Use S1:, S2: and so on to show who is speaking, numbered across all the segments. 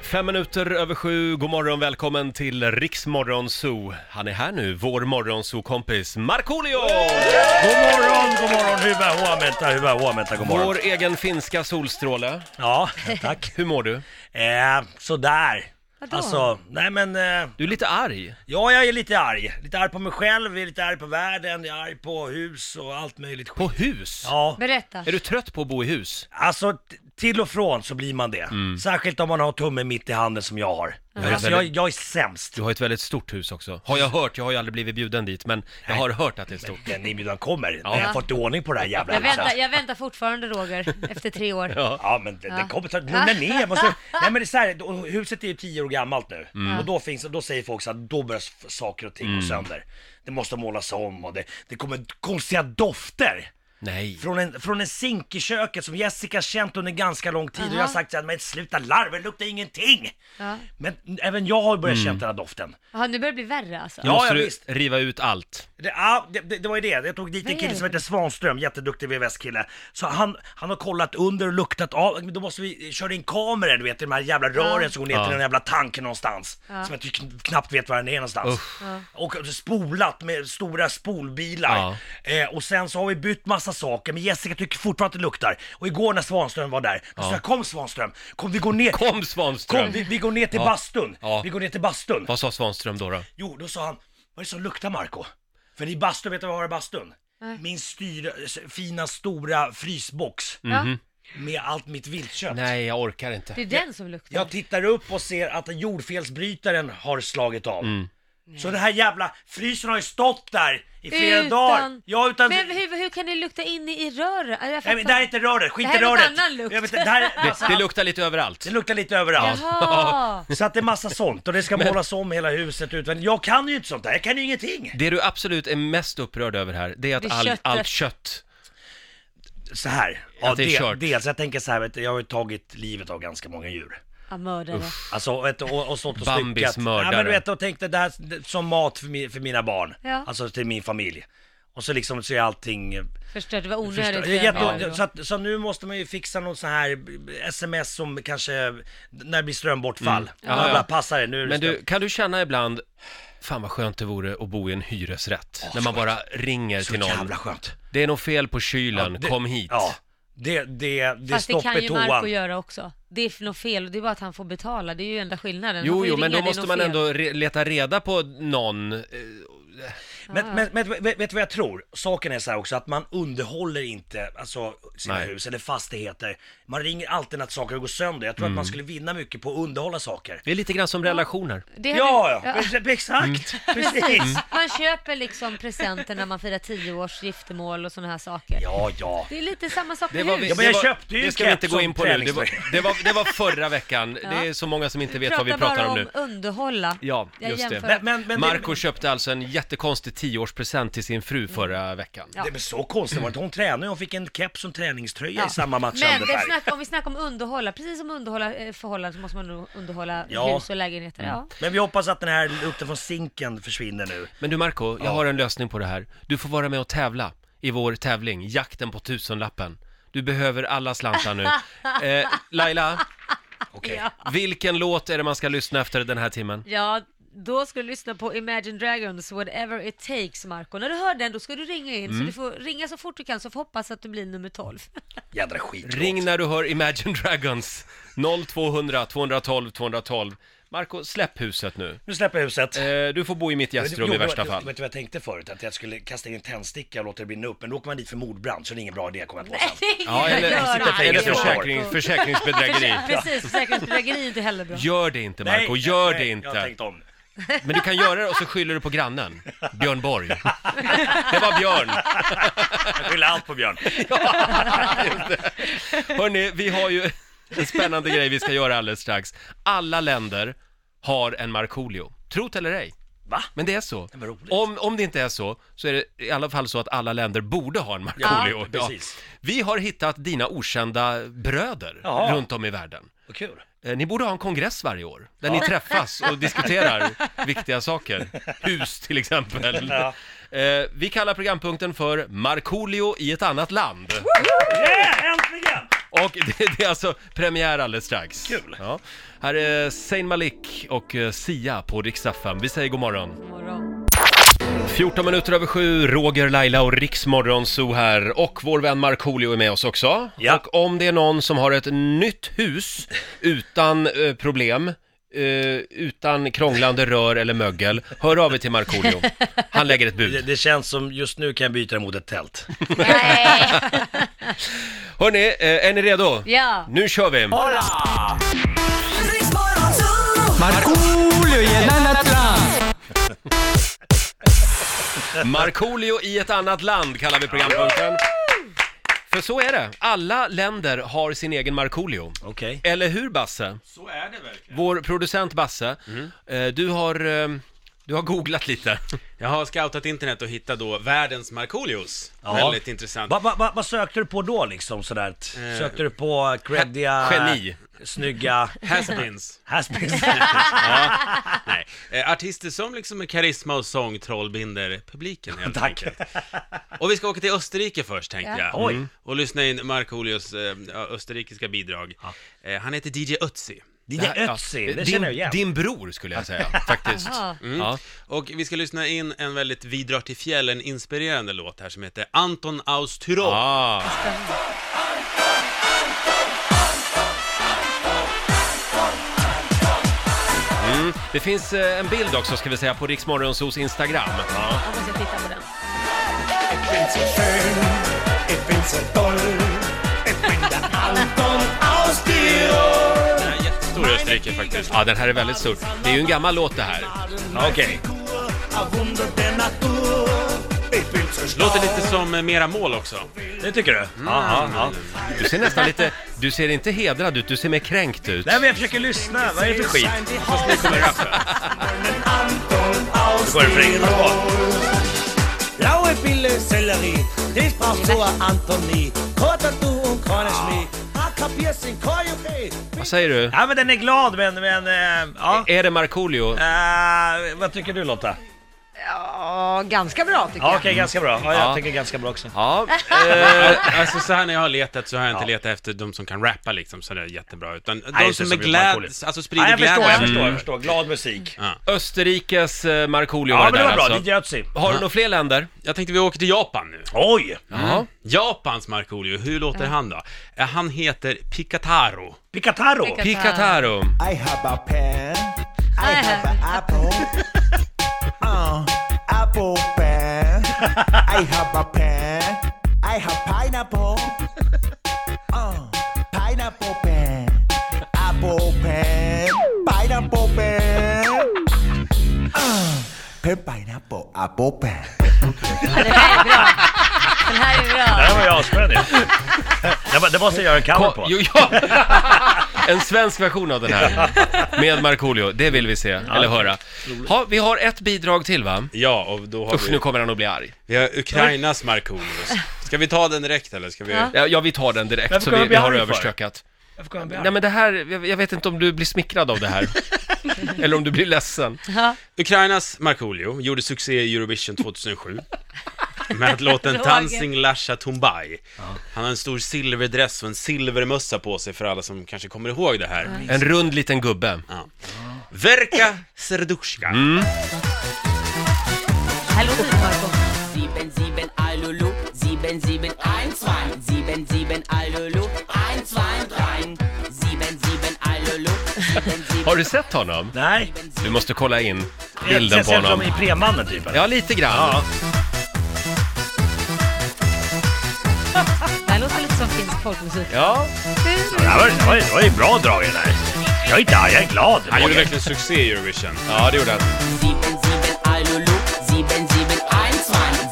S1: Fem minuter över sju, god morgon, välkommen till Riksmorgon Zoo. Han är här nu, vår morgonzoo-kompis Markoolio!
S2: God morgon, god morgon, hyvä huomenta, hyvä huomenta, god morgon.
S1: Vår egen finska solstråle.
S2: Ja, tack.
S1: Hur mår du?
S2: Eh, sådär.
S3: Vadå?
S2: Alltså, nej men, eh,
S1: Du är lite arg.
S2: ja jag är lite arg. Lite arg på mig själv, jag är lite arg på världen, jag är arg på hus och allt möjligt skit.
S1: På hus?
S2: Ja,
S3: Berätta.
S1: Är du trött på att bo i hus?
S2: alltså t- till och från så blir man det. Särskilt om man har tummen mitt i handen som jag har. Alltså Mm. jag, jag är sämst.
S1: Du har ett väldigt stort hus också. Har jag hört, jag har ju aldrig blivit bjuden dit, men jag har hört att det är stort.
S2: Den inbjudan kommer, när jag fått ordning på det här jävla
S3: Jag väntar,
S2: huset.
S3: jag väntar fortfarande Roger, efter tre år. Ja.
S2: alltså. Ja men det, det kommer, så lugna ner jag måste, Nej men det är så här, då- huset är ju tio år gammalt nu och då, finns, då säger folk så att då börjar s- saker och ting gå sönder. Det måste målas om och det, det kommer konstiga dofter.
S1: Nej.
S2: Från en, från en sink i köket som Jessica känt under ganska lång tid och jag har sagt såhär, men sluta larva, det luktar ingenting! Men även jag har börjat känna den här doften.
S3: Jaha, nu börjar det bli värre alltså.
S1: Nu
S2: Ja,
S1: måste
S2: ja,
S1: du
S2: visst.
S1: riva ut allt.
S2: Det, ja, det, det, det var ju det. Jag tog dit en kille som heter Svanström, jätteduktig VVS-kille. Så han, han har kollat under och luktat av. Men Då måste vi köra in kameror, du vet, i de här jävla rören som går ner
S1: Ja.
S2: till den jävla tanken någonstans. Som jag tycker kn- knappt vet var den är någonstans. Och spolat med stora spolbilar. Eh, och sen så har vi bytt massa saker, men Jessica tycker fortfarande att det luktar. Och igår när Svanström var där, då sa jag kom Svanström, kom vi går ner.
S1: Kom
S2: Kom,
S1: Svanström!
S2: vi, vi går ner till
S1: Ja.
S2: bastun.
S1: Ja.
S2: Vi går ner till bastun.
S1: Vad sa Svanström då? då?
S2: Jo, då sa han, vad är det som luktar Marco? För i bastun, vet du vad jag har i bastun? Min styr, s- fina stora frysbox
S3: Ja,
S2: med allt mitt viltkött.
S1: Nej, jag orkar
S3: det
S1: inte.
S3: är den som luktar.
S2: Jag tittar upp och ser att jordfelsbrytaren har slagit av. Så den här jävla frysen har ju stått där i flera dagar. Ja, utan...
S3: Men hur, hur kan det lukta in i, i röret? Alltså, jag
S2: Nej, men det
S3: fattar-
S2: här är inte röret, skit
S3: Det här
S2: i
S3: är någon
S2: röret.
S3: annan lukt.
S2: Jag vet inte, det, här, är- alltså,
S1: Det luktar lite överallt.
S2: det luktar lite överallt.
S3: Jaha!
S2: Så att det är massa sånt och det ska målas om hela huset utvändigt. Jag kan ju inte sånt där, jag kan ju ingenting.
S1: Det du absolut är mest upprörd över här, det är att
S3: Det är
S1: all,
S3: köttet.
S1: allt kött...
S2: så här.
S1: Att det är kört.
S2: dels, jag tänker så här, vet du, jag har ju tagit livet av ganska många djur.
S3: Ja, mördare.
S2: Alltså, vet du, och, och stått och
S1: Bambis
S2: styckat.
S1: mördare.
S2: Ja, men du vet, och tänkte det här som mat för, mi, för mina barn.
S3: Ja.
S2: Alltså till min familj. Och så liksom så är allting...
S3: Förstörd, det var onödigt.
S2: Förstör,
S3: för jag var
S2: jätte,
S3: då.
S2: så, att, så nu måste man ju fixa någon sån här sms som kanske, när det blir strömbortfall.
S1: Mm. Ja,
S2: Ja,
S1: ja.
S2: ja. Passar det, nu är det
S1: Men
S2: ström.
S1: du, kan du känna ibland, fan vad skönt det vore att bo i en hyresrätt, när man bara ringer
S2: Så
S1: till någon.
S2: jävla skönt.
S1: Det är nog fel på kylen,
S2: Ja, det-
S1: kom hit.
S2: Ja, det, det, det är
S3: Fast det
S2: stopp
S3: kan
S2: i
S3: ju Marco
S2: toan.
S3: göra också. Det är något fel och det är bara att han får betala. Det är ju enda skillnaden. Man
S1: Jo,
S3: får ju
S1: jo, men
S3: ringa,
S1: då
S3: det är
S1: måste
S3: något
S1: man
S3: fel.
S1: ändå re- leta reda på någon. eh,
S2: Men, men, men vet, vet du vad jag tror? Saken är så här också att man underhåller inte alltså, sina
S1: Nej.
S2: hus eller fastigheter. Man ringer alltid när saker går sönder. Jag tror
S1: Mm.
S2: att man skulle vinna mycket på att underhålla saker.
S1: Det är lite grann som relationer.
S3: Det Mm. hade-
S2: Ja, ja, pre- exakt, precis. Mm.
S3: Man köper liksom presenter när man firar tio års giftermål och sådana här saker.
S2: Ja, ja.
S3: Det är lite samma sak
S1: Det
S3: med
S1: var,
S3: hus.
S1: vi-
S2: Ja, men jag
S1: det var,
S2: köpte ju
S1: Det ska vi inte
S2: keps
S1: gå
S2: som
S1: in på nu. Det var,
S2: träningsverk.
S1: det var, det var förra veckan. Det är så många som inte vet vad vi pratar
S3: bara
S1: om nu.
S3: underhålla.
S1: Ja,
S3: Jag
S1: just det.
S3: jämför
S2: Men, men, men,
S1: Marco köpte alltså en jättekonstig 10-årspresent till sin fru förra veckan.
S2: det, det men så konstigt var det inte. Hon tränade och hon fick en keps som träningströja
S3: Ja.
S2: i samma match
S3: Men
S2: Anderberg.
S3: det snack, om vi snackar om underhålla, precis som underhålla eh, förhållanden så måste man nog underhålla
S2: Ja. Mm.
S3: hus och lägenheter. Ja.
S2: Men vi hoppas att den här lukten från sinken försvinner nu.
S1: Men du Marco, jag har en lösning på det här. Du får vara med och tävla i vår tävling, jakten på tusenlappen. Du behöver alla slantar nu. Eh, Laila,
S2: Okej.
S1: vilken låt är det man ska lyssna efter den här timmen?
S3: ja, då ska du lyssna på Imagine Dragons Whatever It Takes, Marco. När du hör den då ska du ringa in, så du får ringa så fort du kan så får hoppas att du blir nummer 12.
S2: Jädra skit.
S1: Ring när du hör Imagine Dragons. 0200 212 212. Marco, släpp huset nu.
S2: Nu släpper jag huset.
S1: Eh, du får bo i mitt gästrum
S2: Jo,
S1: i värsta
S2: vet-
S1: fall.
S2: Vet du vad jag tänkte förut? Att jag skulle kasta in en tändsticka och låta det brinna upp, men då åker man dit för mordbrand, så det är ingen bra idé kommer jag på sen.
S1: Ja, eller,
S2: sitta i
S1: eller
S2: fängelse i några år.
S1: försäkring, försäkringsbedrägeri.
S3: Precis, försäkringsbedrägeri är inte heller bra.
S1: Gör det inte Marco, gör det
S2: Jag har
S1: inte.
S2: tänkt om.
S1: Men du kan göra det och så skyller du på grannen, Björn Borg. Det var Björn.
S2: Jag skyller allt på Björn.
S1: Hörni, vi har ju en spännande grej vi ska göra alldeles strax. Alla länder har en Markoolio. Trot eller ej.
S2: Va?
S1: Men det är så.
S2: Men vad roligt.
S1: Om, om det inte är så, så är det i alla fall så att alla länder borde ha en Markoolio.
S2: Ja, precis.
S1: Vi har hittat dina okända bröder
S2: Ja.
S1: runt om i världen.
S2: Vad kul.
S1: Eh, Ni borde ha en kongress varje år, där ni träffas och diskuterar viktiga saker. Hus till exempel.
S2: Ja.
S1: Eh, Vi kallar programpunkten för Markoolio i ett annat land.
S2: Yeah, äntligen!
S1: Och det, det är alltså premiär alldeles strax.
S2: Kul.
S1: Ja. Här är Zayn Malik och eh, Sia på Rix FM. Vi säger god morgon.
S3: God morgon.
S1: 14 minuter över sju, Roger, Laila och Riksmorgonzoo här. Och vår vän Markoolio är med oss också.
S2: Ja.
S1: Och om det är någon som har ett nytt hus utan eh, problem, eh, utan krånglande rör eller mögel, hör av er till Markoolio. Han lägger ett
S2: Det,
S1: bud.
S2: det känns som just nu kan jag byta mot ett tält.
S3: Nej.
S1: Hörni, eh, är ni redo?
S3: Ja.
S1: Nu kör vi!
S4: Markoolio i ett annat land.
S1: Markoolio i ett annat land kallar vi programpunkten. För så är det, alla länder har sin egen Markoolio.
S2: Okej.
S1: Eller hur Basse?
S5: Så är det verkligen.
S1: Vår producent Basse,
S2: Mm.
S1: eh, du har, eh, du har googlat lite.
S5: Jag har scoutat internet och hittat då världens Markoolios.
S2: Ja.
S5: Väldigt intressant.
S2: Va, va, va, vad sökte du på då liksom sådär? Sökte du på creddiga...
S1: Eh, Geni.
S2: Snygga...
S5: Haspins.
S2: Haspins.
S5: Nej. Eh, Artister som liksom med karisma och sång trollbinder publiken helt
S2: Tack.
S5: enkelt. Och vi ska åka till Österrike först tänkte
S3: Ja.
S5: jag. Mm.
S2: Oj.
S5: Och lyssna in Markoolios eh, ja, österrikiska bidrag. Eh, han heter DJ Ötzi.
S2: Lilla
S1: här- ja,
S2: Ötzi,
S1: eh,
S2: det
S1: din,
S2: känner jag igen.
S1: Din bror skulle jag säga, faktiskt.
S3: Jaha.
S1: Ja.
S5: Och vi ska lyssna in en väldigt Vi drar till fjällen inspirerande låt här som heter Anton aus Tyrol.
S1: Ah. Mm. Det finns eh, en bild också ska vi säga på Riksmorgonsos Instagram.
S3: Jag måste titta på den.
S6: Ich bin so schön, ich bin so toll, ich bin der Anton aus Tirol.
S5: Den är jättestor i Österrike faktiskt.
S1: Ja, den här är väldigt stor. Det är ju en gammal låt det här.
S2: Okej.
S6: Ein Wunder der Natur, ich bin so stolz.
S5: Låter lite som eh, Mera Mål också.
S2: Det tycker du?
S1: Mm.
S2: Ja, ja, ja.
S1: Du ser nästan lite, du ser inte hedrad ut, du ser mer kränkt ut.
S2: Nej men jag försöker lyssna, vad är det för skit?
S6: Sein die Anton aus
S2: går det för
S6: Tirol.
S2: engelska på.
S6: Blaue Pille, Sellerie, das braucht so ein Anton nie. Kotter du und keine Schmäh, ah, kapierst den Koryphäe.
S1: Vad säger du?
S2: Ja men den är glad men, men, eh, ja.
S1: Är det Markoolio?
S2: Eh, vad tycker du Lotta?
S3: Ja, ganska bra tycker
S2: Ja, Okej,
S3: jag.
S2: ganska bra. Ja, jag
S1: Mm. Ja.
S2: tycker ganska bra också.
S1: Ja,
S5: Alltså så här när jag har letat så har jag inte letat efter de som kan rappa liksom sådär jättebra utan de
S2: just det,
S5: som är
S2: som är Markoolio.
S5: glad, alltså
S2: Ja,
S5: sprider
S2: jag förstår, jag
S5: glädje.
S1: Mm.
S5: Mm.
S2: förstår, jag förstår. Glad musik.
S1: Österrikes eh, Markoolio
S2: Ja
S1: var det
S2: men det
S1: där
S2: var bra,
S1: alltså.
S2: DJ Ötzi.
S1: Har du några fler länder?
S5: Jag tänkte vi åker till Japan nu.
S2: Oj!
S1: Ja.
S5: Japans Markoolio, hur låter han då? Eh, Han heter Picataro.
S2: Picataro!
S3: Picataro.
S1: Picataro.
S7: I have a pen. I
S3: I
S7: have an apple. uh, apple pen. I have a pen. I have pineapple. Uh, pineapple pen. Apple pen. Pineapple pen. Uh, pen, pineapple, apple pen.
S3: Ja, den här är bra. Den här är
S2: Det
S3: bra.
S2: här var jag asskön ju. Det var- Det måste jag göra en cover på.
S1: Jo, ja. En svensk version av den här. Med Markoolio, det vill vi se, eller höra. Ha, vi har ett bidrag till va?
S5: Ja, och då har
S1: Usch,
S5: vi,
S1: nu kommer han att bli arg.
S5: vi har Ukrainas Markoolio. Ska vi ta den direkt eller ska vi?
S3: Ja.
S1: Ja, ja, vi tar den direkt
S2: Varför
S1: så
S2: kommer
S1: vi,
S2: han
S1: vi har
S2: bli arg för?
S1: överstökat.
S2: Varför kommer han bli arg?
S1: Nej men det här, jag, jag vet inte om du blir smickrad av det här. Eller om du blir ledsen.
S3: Ja.
S5: Ukrainas Markoolio gjorde succé i Eurovision 2007 med att låten
S3: Roger.
S5: Dancing Lasha Tumbai. Han har en stor silverdress och en silvermössa på sig för alla som kanske kommer ihåg det här.
S1: En rund liten gubbe.
S5: Verka Serdushka.
S3: Här låter det Marco.
S8: 7, 7, Alulu, 7, 7, 1, 2, 7, 7, Alulu, 1, 2, 3, 7, 7, Alulu, 7, 7,
S1: Har du sett honom?
S2: Nej,
S1: Du måste kolla in
S2: jag
S1: bilden
S2: jag
S1: på
S2: ser ut som
S1: honom.
S2: i Premannen typ. eller?
S1: Ja, lite grann.
S2: Ja.
S3: Det här låter lite som finsk folkmusik.
S1: Ja,
S2: Det här var- det var- det var ju bra drag i den här. Jag är inte arg, jag är glad.
S5: Han gjorde verkligen succé i Eurovision.
S1: ja det gjorde han.
S8: 7, 7, Alulu, 7, 7, 1,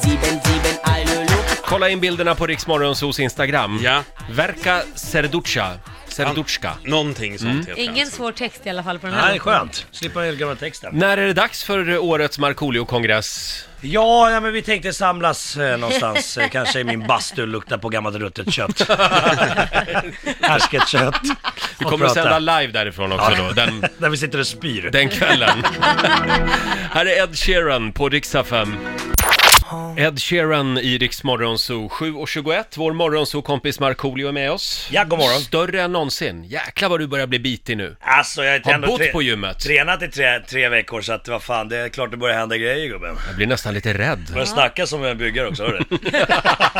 S8: 2, 7, 7, Alulu.
S1: Kolla in bilderna på Riksmorgonsos Instagram.
S5: Ja,
S1: Verka Serducha. Serduchka.
S5: någonting sånt heter han.
S3: Ingen svår text i alla fall på den här.
S2: Nej,
S3: låten.
S2: skönt. Slippa den gamla texten.
S1: När är det dags för eh, årets Markoolio-kongress?
S2: Ja, nej, men vi tänkte samlas eh, någonstans, eh, kanske i min bastu, lukta på gammalt ruttet kött. Härsket kött.
S1: Vi kommer att sända live därifrån också då, den,
S2: Där vi sitter och spyr.
S1: den kvällen. Här är Ed Sheeran på Riksa 5. Ed Sheeran i Rix Morgonzoo. 7.21, vår morgonzoo-kompis Markoolio är med oss.
S2: Ja, god morgon.
S1: Större än någonsin. Jäklar vad du börjar bli bitig nu.
S2: Alltså jag
S1: Har
S2: ändå
S1: bott på gymmet.
S2: tränat i tre, tre veckor så att vad fan, det är klart det börjar hända grejer gubben.
S1: Jag blir nästan lite rädd.
S2: Börjar snacka som en byggare också, hör du?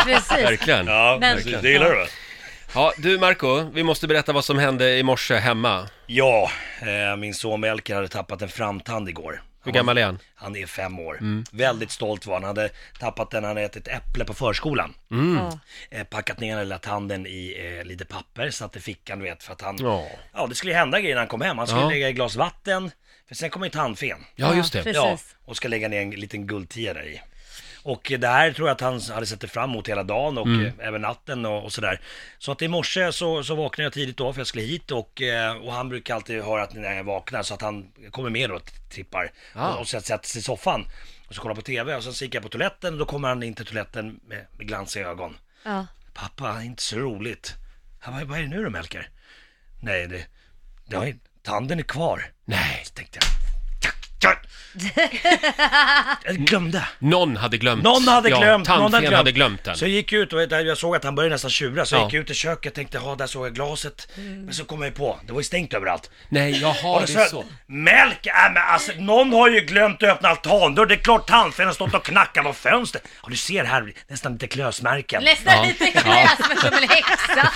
S3: Precis.
S1: Verkligen.
S2: Ja,
S3: Men-
S2: precis. Det gillar du va?
S1: Ja, du Marco, vi måste berätta vad som hände i morse hemma.
S2: Ja, eh, min son Melker hade tappat en framtand igår.
S1: Hur gammal är han?
S2: Han är fem år.
S1: Mm.
S2: Väldigt stolt var han. Han hade tappat den, han hade ätit äpple på förskolan.
S3: Ja.
S1: Mm.
S2: Eh, packat ner den lilla tanden i eh, lite papper, satt i fickan du vet för att han...
S1: Ja.
S2: Ja, det skulle hända grejer när han kom hem. Han skulle
S1: Ja.
S2: lägga i glas vatten, för sen kommer ju tandfen.
S1: Ja, just det.
S3: precis.
S2: Ja, och ska lägga ner en liten guldtia där i. Och det här tror jag att han hade sett det fram emot hela dagen och
S1: Mm.
S2: eh, även natten och, och sådär. Så att i morse så, så vaknade jag tidigt då för jag skulle hit och, eh, och han brukar alltid höra att när jag vaknar så att han kommer med och tippar.
S1: Ah.
S2: Och, och så sätter sig i soffan och så kollar på TV och sen så gick jag på toaletten och då kommer han in till toaletten med, med glansiga ögon.
S3: Ja.
S2: Pappa, det är inte så roligt. Han bara, vad är det nu då Melker? Nej, det, det har, inte- tanden är kvar.
S1: Nej,
S2: Så tänkte jag, jag, jag glömde.
S1: någon hade glömt.
S2: Någon hade
S1: Mm. ja,
S2: glömt, någon
S1: tandfen
S2: hade glömt.
S1: hade glömt den.
S2: Så jag gick ut och vet du, jag såg att han började nästan tjura, så jag
S1: Ja.
S2: gick ut i köket och tänkte, ja där såg jag glaset. Men så kom jag ju på, det var ju stängt överallt.
S1: Nej, jaha,
S2: och
S1: det
S2: så,
S1: är så.
S2: Melk, äh, men alltså någon har ju glömt att öppna altandörren, det är klart tandfen har stått och knackat på fönstret. Ja du ser här, nästan lite klösmärken.
S3: Nästan
S1: Ja.
S3: lite kräsmen som en häxa.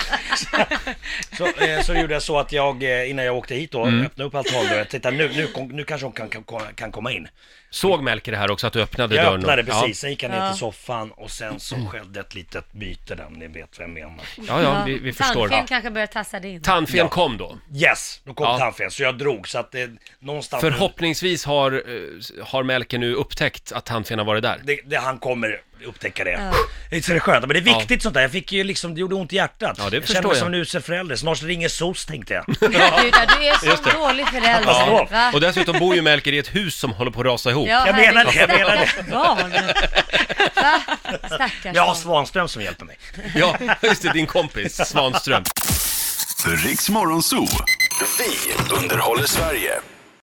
S2: Så, eh, så gjorde jag så att jag, eh, innan jag åkte hit då,
S1: Mm.
S2: öppnade upp altandörren, tittade nu, nu, kom- nu kanske hon kan, kan, kan komma in.
S1: Såg Melker det här också, att du öppnade
S2: Jag
S1: dörren?
S2: öppnade
S1: och-
S2: precis, sen gick han ner
S3: Ja.
S2: till soffan och sen så skedde ett litet byte där, om ni vet vem jag menar.
S1: Ja, ja, ja vi, vi förstår.
S3: Tandfen kanske börjar tassa dig in.
S1: Tandfen kom då.
S2: Yes, då kom
S1: Ja.
S2: tandfen, så jag drog så att det någonstans...
S1: Förhoppningsvis har, eh, har Melker nu upptäckt att tandfen har varit där.
S2: det, det, han kommer upptäcka det. Det är så det är skönt, men det är viktigt sånt där. Jag fick ju liksom, det gjorde ont i hjärtat.
S1: Ja, det
S2: jag
S1: förstår
S2: känner mig
S1: jag.
S2: som en usel förälder. Snart ringer SOS tänkte jag.
S3: Gudar, du är så dålig förälder.
S2: Ja.
S3: Va?
S1: Och dessutom bor ju Melker i ett hus som håller på att rasa ihop.
S3: Ja,
S2: Jag menar det,
S3: herregud,
S2: jag menar det.
S3: stackars barn. Va? Stackars
S2: Jag har
S3: barn.
S2: Svanström som hjälper mig.
S1: Ja, just det, din kompis Svanström.
S4: Riks Morgonzoo. Vi underhåller Sverige.